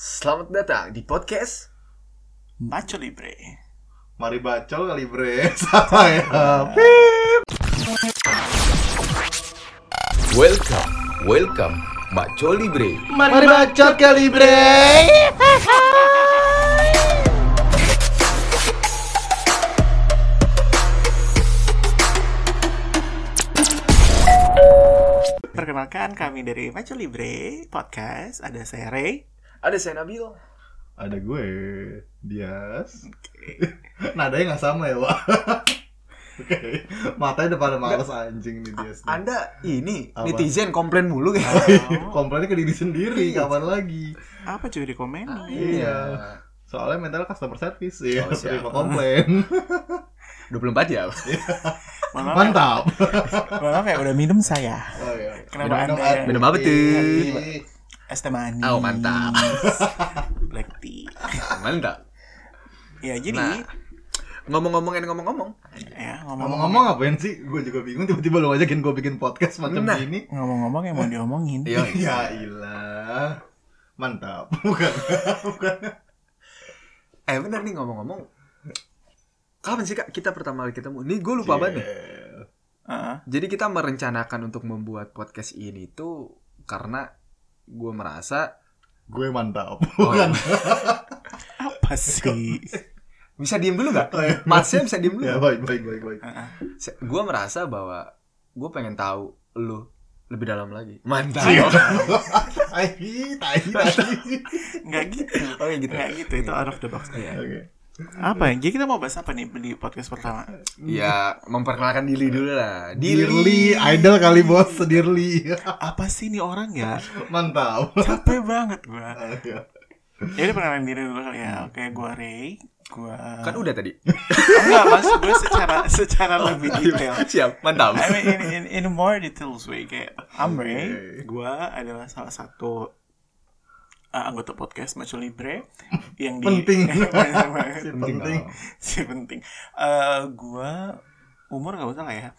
Selamat datang di podcast Macho Libre. Mari bacol kali bre Sama ya Welcome, welcome, Macho Libre. Mari bacot kali bre Perkenalkan kami dari Macho Libre Podcast. Ada saya Ray. Ada saya Nabil Ada gue Dias Nadanya gak sama ya Wak Oke Matanya udah pada males anjing nih Dias nih. Anda ini Apa? netizen komplain mulu ya. kayak iya. Oh, Komplainnya ke diri sendiri Kapan lagi apa cuy di komen? Iya Soalnya mental customer service ya Oh, siap. Terima komplain 24 jam Maaf, Mantap maaf ya udah minum saya. Oh, iya. Kenapa Anda- air Minum apa tuh? putih. Es teh manis. Oh, mantap. Black tea. Mantap Ya jadi Nah. Ngomong-ngomongin ngomong-ngomong ya ngomong-ngomong Ngomong-ngomong ngapain sih? Gue juga bingung tiba-tiba lu ajakin gue bikin podcast macam Nah. gini ngomong-ngomong yang mau diomongin. Iya Ya ilah Mantap Bukan Bukan Eh bener nih ngomong-ngomong Kapan sih kak kita pertama kali ketemu? Nih gue lupa banget nih Cie. Heeh. Jadi kita merencanakan untuk membuat podcast ini tuh Karena gue merasa Gue mantap. Oh, iya. Bukan. apa sih? Bisa diem dulu gak? Oh, iya. Matsnya bisa diem dulu ya baik baik baik baik. Heeh. Gue merasa bahwa Gue pengen tahu lu lebih dalam lagi Mantap Cie. Tai tai tai. Nggak gitu. Oh iya gitu Nggak gitu. Itu out of the box. Iya. Oke. Apa ya? Jadi kita mau bahas apa nih di podcast pertama? Ya memperkenalkan diri dulu lah Dirli idol kali bos Dirli. Apa sih nih orang ya? mantap. Capek banget gua. Oke. Ya udah perkenalan diri dulu kali ya. Oke, gua Ray. Gua Kan udah tadi enggak maksud gue secara secara lebih Oh, Iya. detail. Siap mantap I mean in, in, in a more details way kayak I'm Ray. Oke. Gua adalah salah satu uh, anggota podcast Macho Libre yang di Penting. Si penting. Penting. Si penting. Eh, gua umur nggak usah lah ya.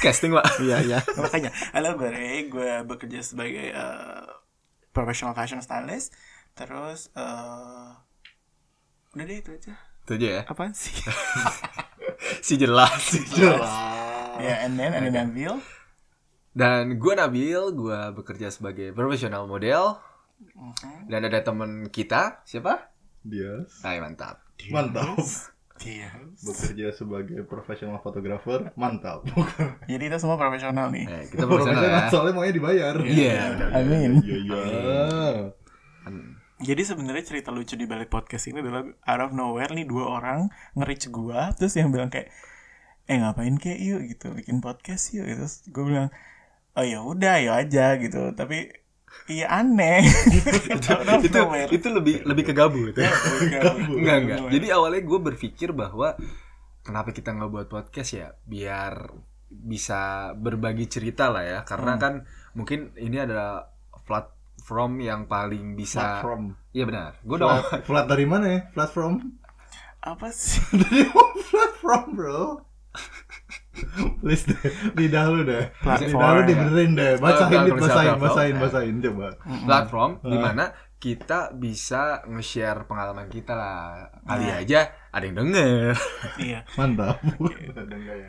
Casting pak Iya iya Makanya, halo gue Ray, gue bekerja sebagai eh, professional fashion stylist. Terus eh udah deh itu aja. Itu aja ya Apaan sih? Si jelas Jelas. Ya, and then ada Nabil. Dan gue Nabil Gue bekerja sebagai profesional model Dan ada temen kita Siapa? Dias. Hai mantap Mantap. Iya. Bekerja sebagai profesional fotografer. Mantap. Bukan. Jadi kita semua profesional nih. eh, Kita profesional ya soalnya maunya dibayar. Iya Amin. Iya iya. Jadi sebenarnya cerita lucu di balik podcast ini adalah out of nowhere nih dua orang nge-reach gua terus yang bilang kayak eh ngapain kayak yuk gitu bikin podcast yuk Gitu. terus gue bilang oh ya udah ya aja gitu tapi iya aneh itu itu itu lebih lebih ke gabu itu Iya, gitu. enggak enggak jadi awalnya gue berpikir bahwa kenapa kita nggak buat podcast ya biar bisa berbagi cerita lah ya karena kan mungkin ini adalah platform yang paling bisa Platform. iya benar gue udah Flat, flat dari mana ya? Platform. apa sih Dari what platform bro? Please deh, lidah lu deh Lidah lu Platform, dibenerin deh Oh, Bacain, platform, dit, bacain, platform. bacain, bacain Coba platform dimana kita bisa nge-share pengalaman kita lah kali aja ada yang denger iya Mantap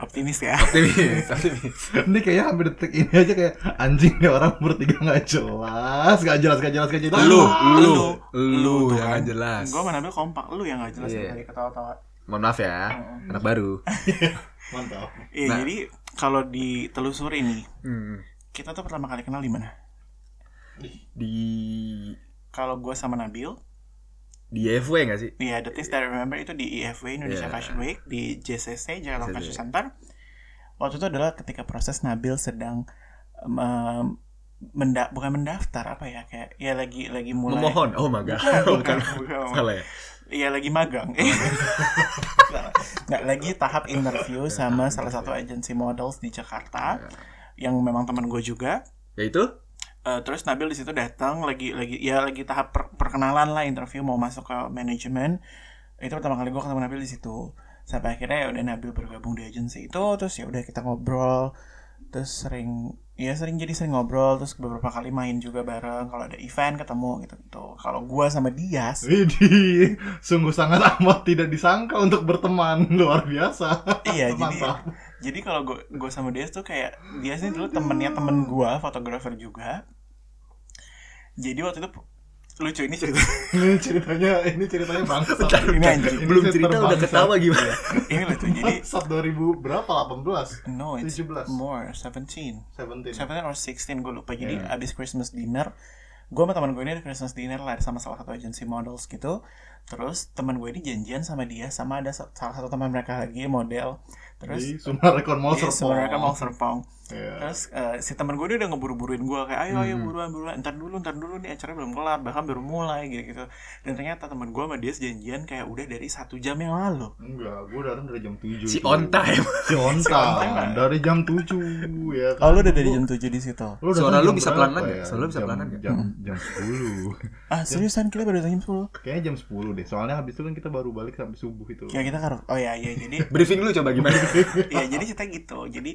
optimis ya optimis optimis Ini kayaknya hampir detik ini aja kayak Anjing nih orang bertiga gak jelas Gak jelas, gak jelas, gak jelas lu lu lu Lu tuh yang kan. nggak jelas gue menambil kompak lu yang nggak jelas Iya. tadi ketawa-tawa mohon maaf ya anak baru Mantap Iya, Nah. jadi kalau ditelusuri nih, Hmm. kita tuh pertama kali kenal di mana? di Kalau gue sama Nabil, di FW nggak sih ya the things that I remember itu di IFW Indonesia Iya. Fashion Week di JCC Jakarta JCC. Fashion Center. Waktu itu adalah ketika proses Nabil sedang em, em, menda bukan mendaftar apa ya kayak ya lagi lagi mulai memohon oh my god bukan bukan. salah ya Iya lagi magang. Nggak lagi tahap interview sama Iya. salah satu agensi models di Jakarta yang memang teman gue juga. yaitu Eh, terus Nabil di situ datang lagi lagi ya lagi tahap per- perkenalan lah interview mau masuk ke manajemen. Itu pertama kali gue ketemu Nabil di situ. Sampai akhirnya ya udah Nabil bergabung di agensi itu terus ya udah kita ngobrol terus sering ya sering jadi sering ngobrol terus beberapa kali main juga bareng kalau ada event ketemu gitu gitu kalau gua sama Dias Widih, sungguh sangat amat tidak disangka untuk berteman luar biasa. iya jadi Mantap. jadi kalau gua gua sama Dias tuh kayak Dias ini dulu temennya temen gua fotografer juga jadi waktu itu lucu ini cerita Ini ceritanya, ini ceritanya bangsa. ini Iya. anjing Ini Belum saya cerita udah terbangsat. ketawa gimana? ini lucu jadi Bangsat 2000 berapa? 18? no it's 17. more 17 17. 17 or 16 gue lupa jadi abis Christmas dinner gue sama teman gue ini ada Christmas dinner lah sama salah satu agency models gitu terus teman gue ini janjian sama dia sama ada sa- salah satu teman mereka lagi model Di terus Summarecon Mall Iya, sebenarnya kan mau Serpong. serpong Iya. terus eh, si teman gue ini udah ngeburu-buruin gue kayak ayo ayo buruan buruan ntar dulu ntar dulu nih acara belum kelar bahkan baru mulai gitu gitu dan ternyata teman gue sama dia janjian kayak udah dari satu jam yang lalu Enggak, gue datang dari jam 7 Si on time. Si on Si on time, time kan? Dari jam 7 ya oh kan? lu udah dari jam 7 di situ Lu datang Suara lu jam bisa berapa pelan-pelan nggak? ya? Suara lu bisa Jam- pelan-pelan nggak? Jam, jam 10 ah seriusan kita baru datang jam 10 Kayaknya jam 10 deh Soalnya habis itu kan kita baru balik sampai subuh itu ya kita karo oh ya ya jadi Briefing lu coba gimana? ya jadi ceritanya gitu jadi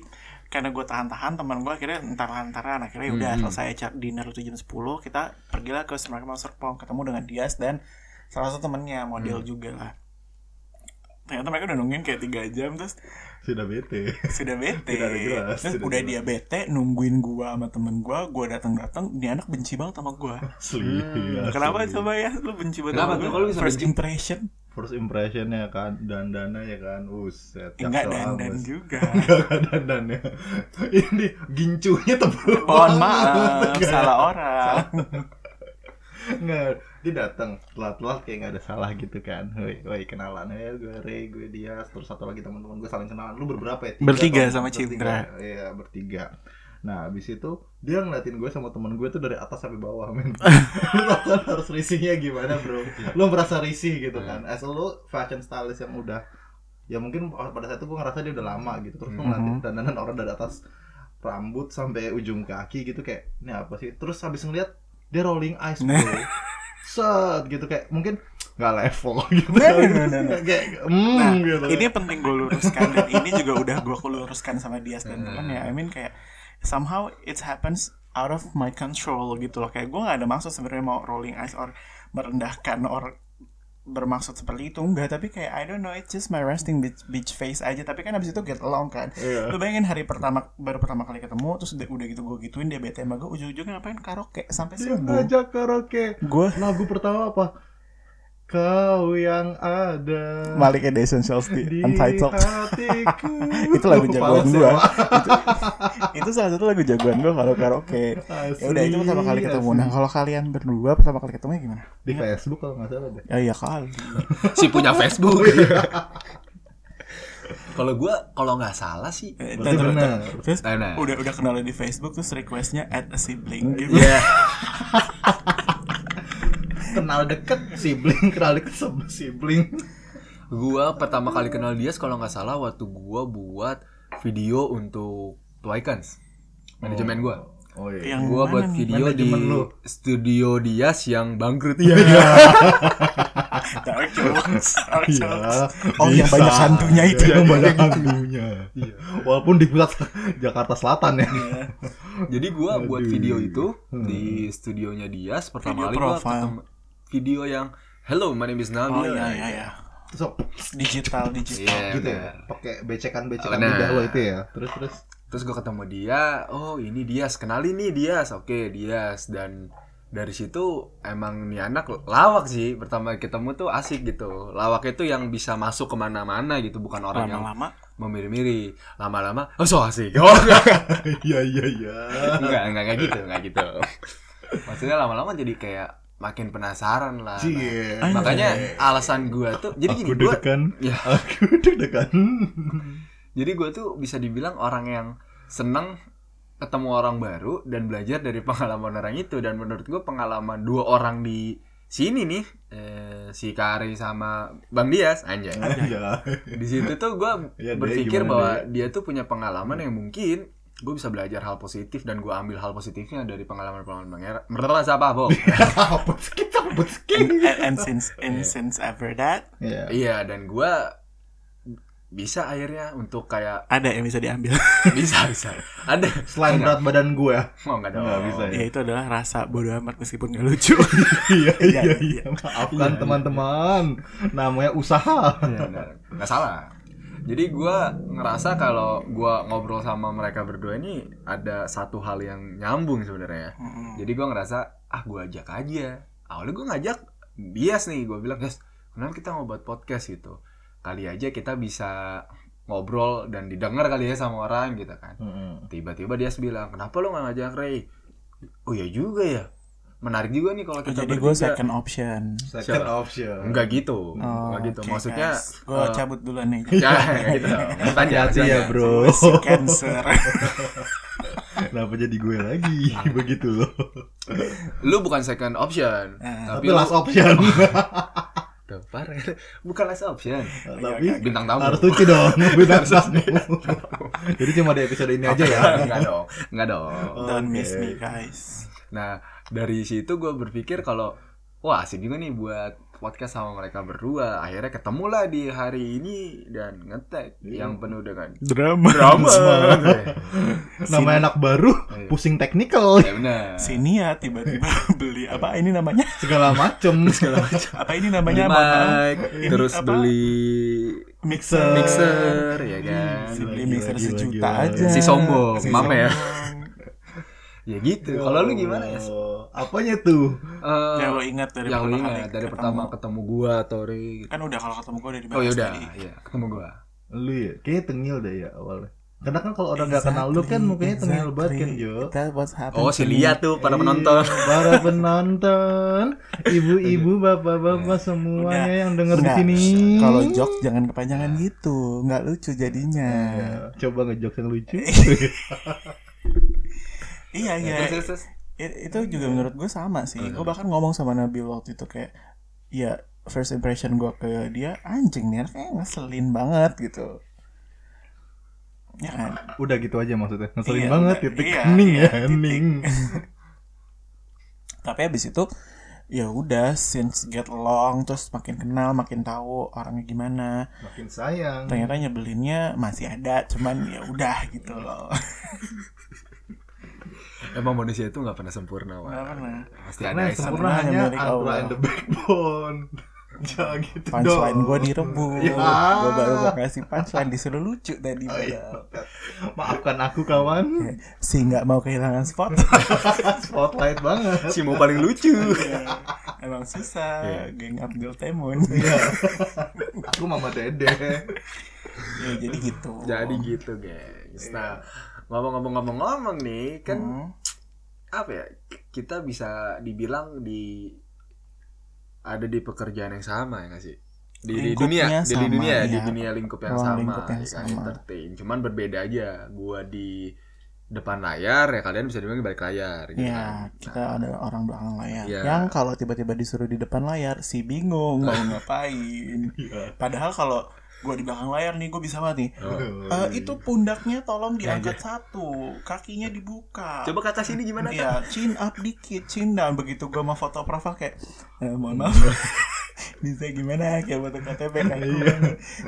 karena gue tahan-tahan teman gue akhirnya entar lantaran akhirnya udah Mm-hmm. selesai acara dinner itu jam 10 kita pergilah ke Semarang Serpong ketemu dengan Dias dan salah satu temennya model Mm. juga lah ternyata mereka udah nungguin kayak tiga jam terus Sudah bete Hmm, sudah bete Tidak ada jelas, terus tidak udah jelas. dia bete nungguin gua sama temen gua gua datang datang dia anak benci banget sama gua Asli asli. kenapa coba ya lu benci banget Kenapa sama tuh? gua? Kalau lu bisa first benci? impression First impressionnya kan Dandana ya kan Uset enggak cakep dandan amat. juga Enggak enggak dandannya Ini gincunya tebal mohon banget. maaf Enggak. salah orang Nggak, dia datang telat-telat kayak nggak ada salah gitu kan. Woi, woi kenalan ya gue Ray, gue Dias, terus satu lagi teman-teman gue saling kenalan. Lu berberapa ya? Tiga Bertiga atau- sama bertiga. Cindra. Iya, bertiga. Nah, abis itu dia ngeliatin gue sama temen gue tuh dari atas sampai bawah, men. lu tau kan harus risihnya gimana, bro. Lu merasa risih gitu kan. Iya. As lu fashion stylist yang udah ya mungkin pada saat itu gue ngerasa dia udah lama gitu terus gue Mm-hmm. ngeliatin dandanan orang dari atas rambut sampai ujung kaki gitu kayak ini apa sih terus habis ngeliat dia rolling eyes bro Nah. set gitu kayak mungkin nggak level gitu Nah, nah, nah, nah. kayak mm, Nah, gitu ini penting gue luruskan dan ini juga udah gue luruskan sama Dias dan temennya. I mean kayak somehow it happens out of my control gitu loh. Kayak gue nggak ada maksud sebenarnya mau rolling eyes or merendahkan or bermaksud seperti itu enggak tapi kayak I don't know it's just my resting bitch, bitch face aja tapi kan abis itu get along kan Iya. lu bayangin hari pertama baru pertama kali ketemu terus udah, udah gitu gue gituin dia bete sama gue ujung-ujungnya ngapain karaoke sampai Dia subuh ngajak karaoke gue lagu pertama apa kau yang ada balik ke The Essentials di di Untitled hatiku itu lagu Lu jagoan pales gue ya, Wak? itu, itu salah satu lagu jagoan gue kalau karaoke Asli, ya udah itu pertama kali ketemu asli. nah kalau kalian berdua pertama kali ketemu gimana di Facebook kalau nggak salah deh ya ya kali si punya Facebook. kalau gua kalau nggak salah sih. Eh, Berarti terus- benar. terus Nah, nah. udah udah kenalan di Facebook terus requestnya add a sibling gitu Iya. kenal deket sibling kenal deket sama sibling Gua pertama kali kenal dia kalau nggak salah waktu gua buat video untuk Twice manajemen gua. oh iya yang Gua mana buat nih? video di Manajemen lu. studio Dias yang bangkrut. dark jokes dark Iya, jokes oh yang bisa. banyak hantunya itu Iya, yang banyak Iya. hantunya walaupun di pusat Jakarta Selatan ya Jadi gua buat Aduh. Hmm. video itu di studionya Dias pertama Video kali gua profile. ketemu video yang Hello, my name is Nabil. oh iya iya iya terus digital digital Iya, gitu bener. ya pakai becekan becekan Nah. lidah lo itu ya terus terus Terus gue ketemu dia, oh ini Dias, kenalin nih Dias, oke Dias dan dari situ emang nih anak lawak sih pertama ketemu tuh asik gitu lawak itu yang bisa masuk kemana-mana gitu bukan orang yang lama-lama memiri-miri lama-lama oh so asik oh, enggak iya iya iya enggak enggak enggak gitu enggak gitu maksudnya lama-lama jadi kayak makin penasaran lah Nah, cie Anjay. makanya alasan gua tuh jadi gini Iya, aku gua deg-degan ya aku deg-degan Jadi gue tuh bisa dibilang orang yang seneng ketemu orang baru dan belajar dari pengalaman orang itu dan menurut gue pengalaman dua orang di sini nih eh, si Kari sama Bang Dias anjay. ya Di situ tuh gue Ya, dia berpikir gimana bahwa dia tuh punya pengalaman yang mungkin gue bisa belajar hal positif dan gue ambil hal positifnya dari pengalaman-pengalaman Bang Era. Merasa apa, Bo? Iya. apa skip apa skip Iya. and, and since and since ever that ya Iya dan gua bisa akhirnya untuk kayak Ada yang bisa diambil. bisa bisa ada Selain Enggak. berat badan gue. oh nggak ada Nggak bisa ya. ya itu adalah rasa bodoh amat meskipun gak lucu. iya Iya, iya iya. iya maafkan teman-teman namanya usaha Iya, nggak- nggak salah jadi gua ngerasa kalau gua ngobrol sama mereka berdua ini ada satu hal yang nyambung sebenarnya ya. Jadi gue ngerasa ah gue ajak aja. Awalnya gue ngajak bias nih gue bilang guys kenapa kita mau buat podcast gitu. Kali aja kita bisa ngobrol dan didengar kali ya sama orang gitu kan. Tiba-tiba dia bilang kenapa lo nggak ngajak Ray? Oh ya juga ya. Menarik juga nih kalau kita Jadi gue bertiga." second option. second Siapa? option Enggak Oh, Oh, gitu, enggak gitu. oke, Maksudnya guys. gue eh, cabut dulu nih. ya nggak gitu dong. Tanya hati-hati aja. ya bro Si Cancer. kenapa jadi gue lagi begitu loh Lu bukan second option, Eh, tapi, tapi lu last option Tuh, parah. bukan last option. tapi Bintang tamu. harus lucu dong bintang tamu jadi cuma di episode ini aja ya Enggak dong, enggak dong. Don't miss Oke. me guys. Nah, dari situ gue berpikir kalau wah asik juga nih buat podcast sama mereka berdua. Akhirnya ketemulah di hari ini dan ngetek Iya. yang penuh dengan Drama. drama. nama anak baru Iya. pusing teknikal ya benar. Sini ya tiba-tiba beli apa ini namanya? segala macem segala macem Apa ini Beli namanya? Mohon maaf. mic, Ini terus apa? beli Mixer. mixer ya kan. Si beli Gila, mixer gila, sejuta gila. aja. Si sombong, Si mame ya. sombong. Ya gitu. Kalau lu gimana ya? Oh, Ya, apanya tuh Eh, Yang lo ingat dari yang lu pertama kali ingat dari ketemu. pertama ketemu gua atau Ri, gitu. Kan udah kalau ketemu gue udah dibahas Oh yaudah, tadi. ya ketemu gua. lu ya kayaknya tengil deh ya awalnya karena kan kalau orang nggak kenal lu kan Exactly, mukanya tengil banget kan exactly. Jo That what's happened Oh, si to me. lihat tuh para Iya, penonton. para penonton, ibu-ibu, bapak-bapak semuanya yang denger di Iya. Udah, sini. Iya. Kalau jok jangan kepanjangan gitu, nggak lucu jadinya. Ya, coba ngejok yang lucu. Iya iya. Terus, terus, terus. I- Itu juga menurut gue sama sih. Gue bahkan ngomong sama Nabil waktu itu kayak, ya first impression gue ke dia anjing nih, kayak ngeselin banget gitu. Ya kan? Udah gitu aja maksudnya. Iya, Ngeselin banget udah. titik Iya, hening iya, ya, hening. tapi habis itu ya udah since get along terus makin kenal makin tahu orangnya gimana Makin sayang. ternyata nyebelinnya masih ada cuman ya udah gitu loh Emang manusia itu nggak pernah sempurna, Wak. Nggak pernah. Pasti Karena ada yang yang sempurna Karena hanya milik Andra Allah. and the Backbone. Jangan gitu punchline dong. gue direbut Ya. gue baru mau kasih punchline disuruh lucu tadi Oh, iya. padahal. Maafkan aku Iya. kawan. si nggak mau kehilangan spot Spotlight banget. si mau paling lucu. Ya, emang susah geng Abdul Temun Iya. aku mama dede. ya, jadi gitu Jadi gitu, guys. Nah, ngomong-ngomong-ngomong-ngomong nih, kan Hmm. apa ya? Kita bisa dibilang di ada di pekerjaan yang sama ya nggak sih? Di, di dunia, Lingkupnya di, di sama, dunia, di iya. dunia lingkup yang Ruang sama, lingkup yang ya kan? sama. entertain. Cuman berbeda aja. Gua di depan layar ya kalian bisa dibilang di balik layar gitu Ya, kan. kita ada orang belakang layar. Ya. Yang kalau tiba-tiba disuruh di depan layar, si bingung mau ngapain. Padahal kalau gue di belakang layar nih, gue bisa banget nih. Oh. iya. "Eh, itu pundaknya tolong diangkat satu, kakinya dibuka. Coba kata sini gimana? Kak? Iya. Ya, chin up dikit, chin down. Begitu gue mau foto profil kayak, "Eh, mohon maaf. Iya. bisa gimana kayak foto KTP kan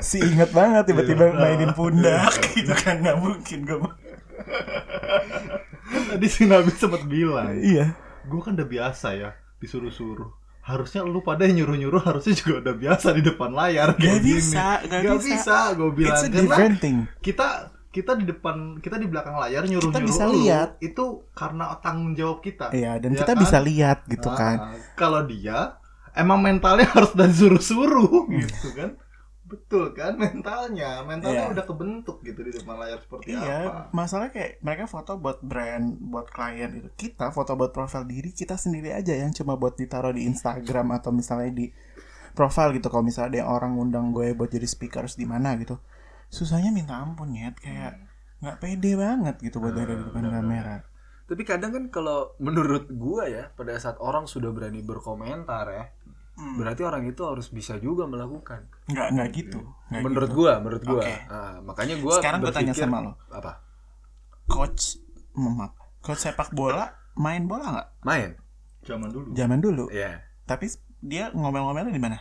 si inget banget Iya. tiba-tiba mainin pundak gitu kan nggak mungkin gue Tadi si Nabi sempat bilang. iya gue kan udah biasa ya disuruh-suruh harusnya lu pada yang nyuruh-nyuruh harusnya juga udah biasa di depan layar Gak kayak gini. bisa, gak Gak bisa. bisa gue bilang it's a karena different thing kita kita di depan kita di belakang layar nyuruh-nyuruh Kita bisa lu, lihat. itu karena tanggung jawab kita Iya, dan Ya kita kan? bisa lihat gitu Ah, kan. kalau dia emang mentalnya harus dan suruh-suruh Hmm. gitu kan betul kan mentalnya mentalnya Iya. udah kebentuk gitu di depan layar seperti apa Iya, masalah kayak mereka foto buat brand, buat klien gitu. Kita foto buat profil diri kita sendiri aja yang cuma buat ditaruh di Instagram atau misalnya di profil gitu. Kalau misalnya ada yang orang ngundang gue buat jadi speakers di mana gitu. Susahnya minta ampun ya, kayak Hmm. nggak pede banget gitu buat Ah, ada di depan kamera. Tapi kadang kan kalau menurut gua ya, pada saat orang sudah berani berkomentar ya, berarti orang itu harus bisa juga melakukan. Hmm. Nggak nggak gitu. nggak Iya. menurut gitu. gua, menurut gua. Oke. Ah, makanya gua Sekarang gua tanya berpikir- sama lo. Apa? coach, maaf, coach sepak bola main bola nggak? Main. zaman dulu Zaman dulu. Iya. Tapi dia ngomel-ngomelnya di mana?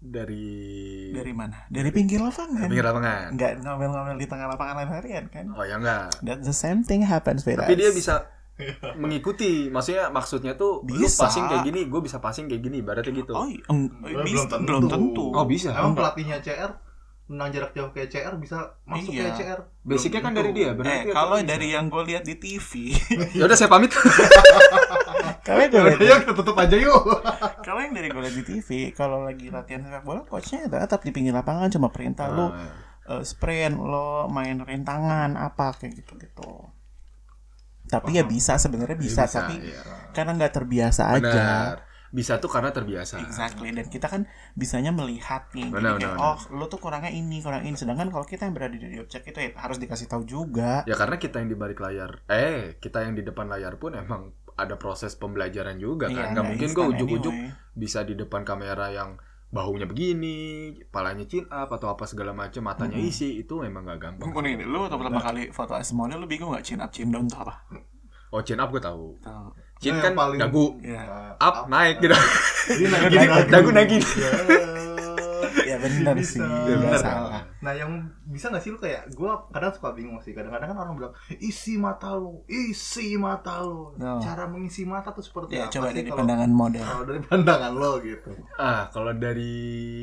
dari, Dari mana? Dari pinggir lapangan. pinggir lapangan. Nggak ngomel-ngomel di tengah lapangan lain harian kan? Oh ya enggak. That the same thing happens with Tapi us. dia bisa mengikuti, maksudnya maksudnya tuh lu Bisa. passing kayak gini, gue bisa passing kayak gini, ibaratnya gitu. Oh, iya, eng- Belum bisa- tentu. belum tentu. Oh, bisa. Emang pelatihnya CR menang jarak jauh kayak CR bisa masuk Iya. kayak CR. Basicnya kan Belum dari tentu. dia, berarti. Eh, kalau dari yang gue lihat di TV, ya udah saya pamit. kalau yang Ya gue udah, lihat Iya. ya kita tutup aja yuk. kalau yang dari gue lihat di TV, kalau lagi latihan sepak bola, coachnya ya tetap di pinggir lapangan cuma perintah Ah, lo iya. eh, sprint, lo main rintangan apa kayak gitu gitu. Tapi ya bisa sebenarnya bisa, bisa, tapi iya. karena nggak terbiasa aja. Benar. Bisa tuh karena terbiasa. Exactly. Dan kita kan bisanya melihat nih, Benar, Jadi kayak, benar, oh lo tuh kurangnya ini, kurang ini. Sedangkan kalau kita yang berada di objek itu ya harus dikasih tahu juga. Ya karena kita yang di balik layar, eh kita yang di depan layar pun emang ada proses pembelajaran juga kan. Iya, Nggak nggak mungkin gue instan ujuk-ujuk anyway. bisa di depan kamera yang bahunya begini, palanya chin up atau apa segala macam, matanya isi itu memang nggak gampang. Mumpuni ini, lu waktu pertama kali foto asmolnya lu bingung gak chin up chin down tuh apa? Oh chin up gue tahu. Tahu. Chin Nah, kan yang paling- dagu, Ya, up, naik gitu. Ini lagi Iya. Gini, dagu naik gitu. gini. ya benar Bisa. sih, Ya, nggak benar. salah. Nah yang bisa gak sih lu kayak gue kadang suka bingung sih kadang-kadang kan orang bilang isi mata lu, isi mata lu. No. Cara mengisi mata tuh seperti Ya apa coba sih dari kalau pandangan model. kalau dari pandangan lo gitu. Ah kalau dari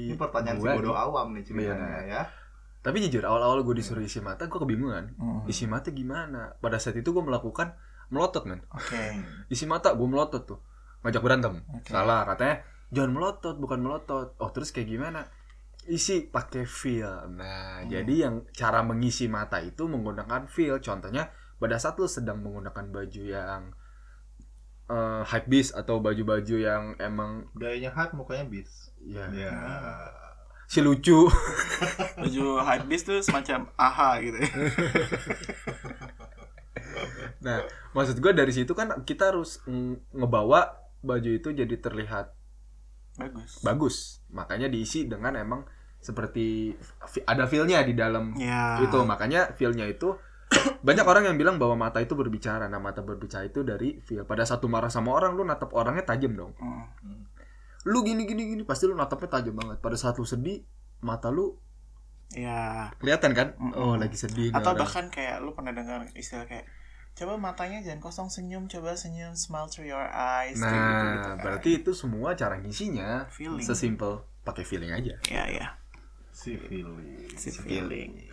Ini pertanyaan si gua bodoh nih, awam nih ceritanya Iya. ya. Tapi jujur awal-awal gue disuruh isi mata gue kebingungan. Hmm, Oke. Isi mata gimana? Pada saat itu gue melakukan melotot men. Isi mata gue melotot tuh. Ngajak berantem. Oke. Salah katanya jangan melotot bukan melotot. Oh terus kayak gimana? Isi pakai feel. Nah Hmm. jadi yang cara mengisi mata itu menggunakan feel. Contohnya pada saat lu sedang menggunakan baju yang eh hype beast atau baju-baju yang emang Gayanya hard mukanya bis. ya Iya. Ya. si lucu Baju high beast tuh semacam aha gitu ya. Nah, maksud gue dari situ kan kita harus mm, ngebawa baju itu jadi terlihat Bagus. bagus. Makanya diisi dengan emang seperti fi- ada feel-nya di dalam Ya. itu. Gitu, Makanya feel-nya itu banyak orang yang bilang bahwa mata itu berbicara. Nah, mata berbicara itu dari feel. Pada satu marah sama orang lu natap orangnya tajam dong. Hmm. Lu gini gini gini pasti lu natapnya tajam banget. Pada saat lu sedih, mata lu Ya. kelihatan kan? Mm-mm. Oh, lagi sedih nih Atau orang. bahkan kayak lu pernah dengar istilah kayak coba matanya jangan kosong senyum, coba senyum smile through your eyes. kayak gitu-gitu Nah, kan. berarti itu semua cara ngisinya Feeling. sesimpel pakai feeling aja. Ya ya. Si feeling. It's feeling.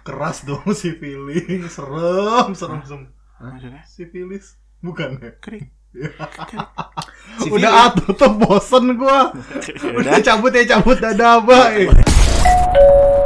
Keras dong si feeling. Serem, serem, serem. Maksudnya? Si Filis. Bukan ya? Krik. Si Udah ah tutup bosen gua. Udah. Udah cabut ya cabut dadah bye.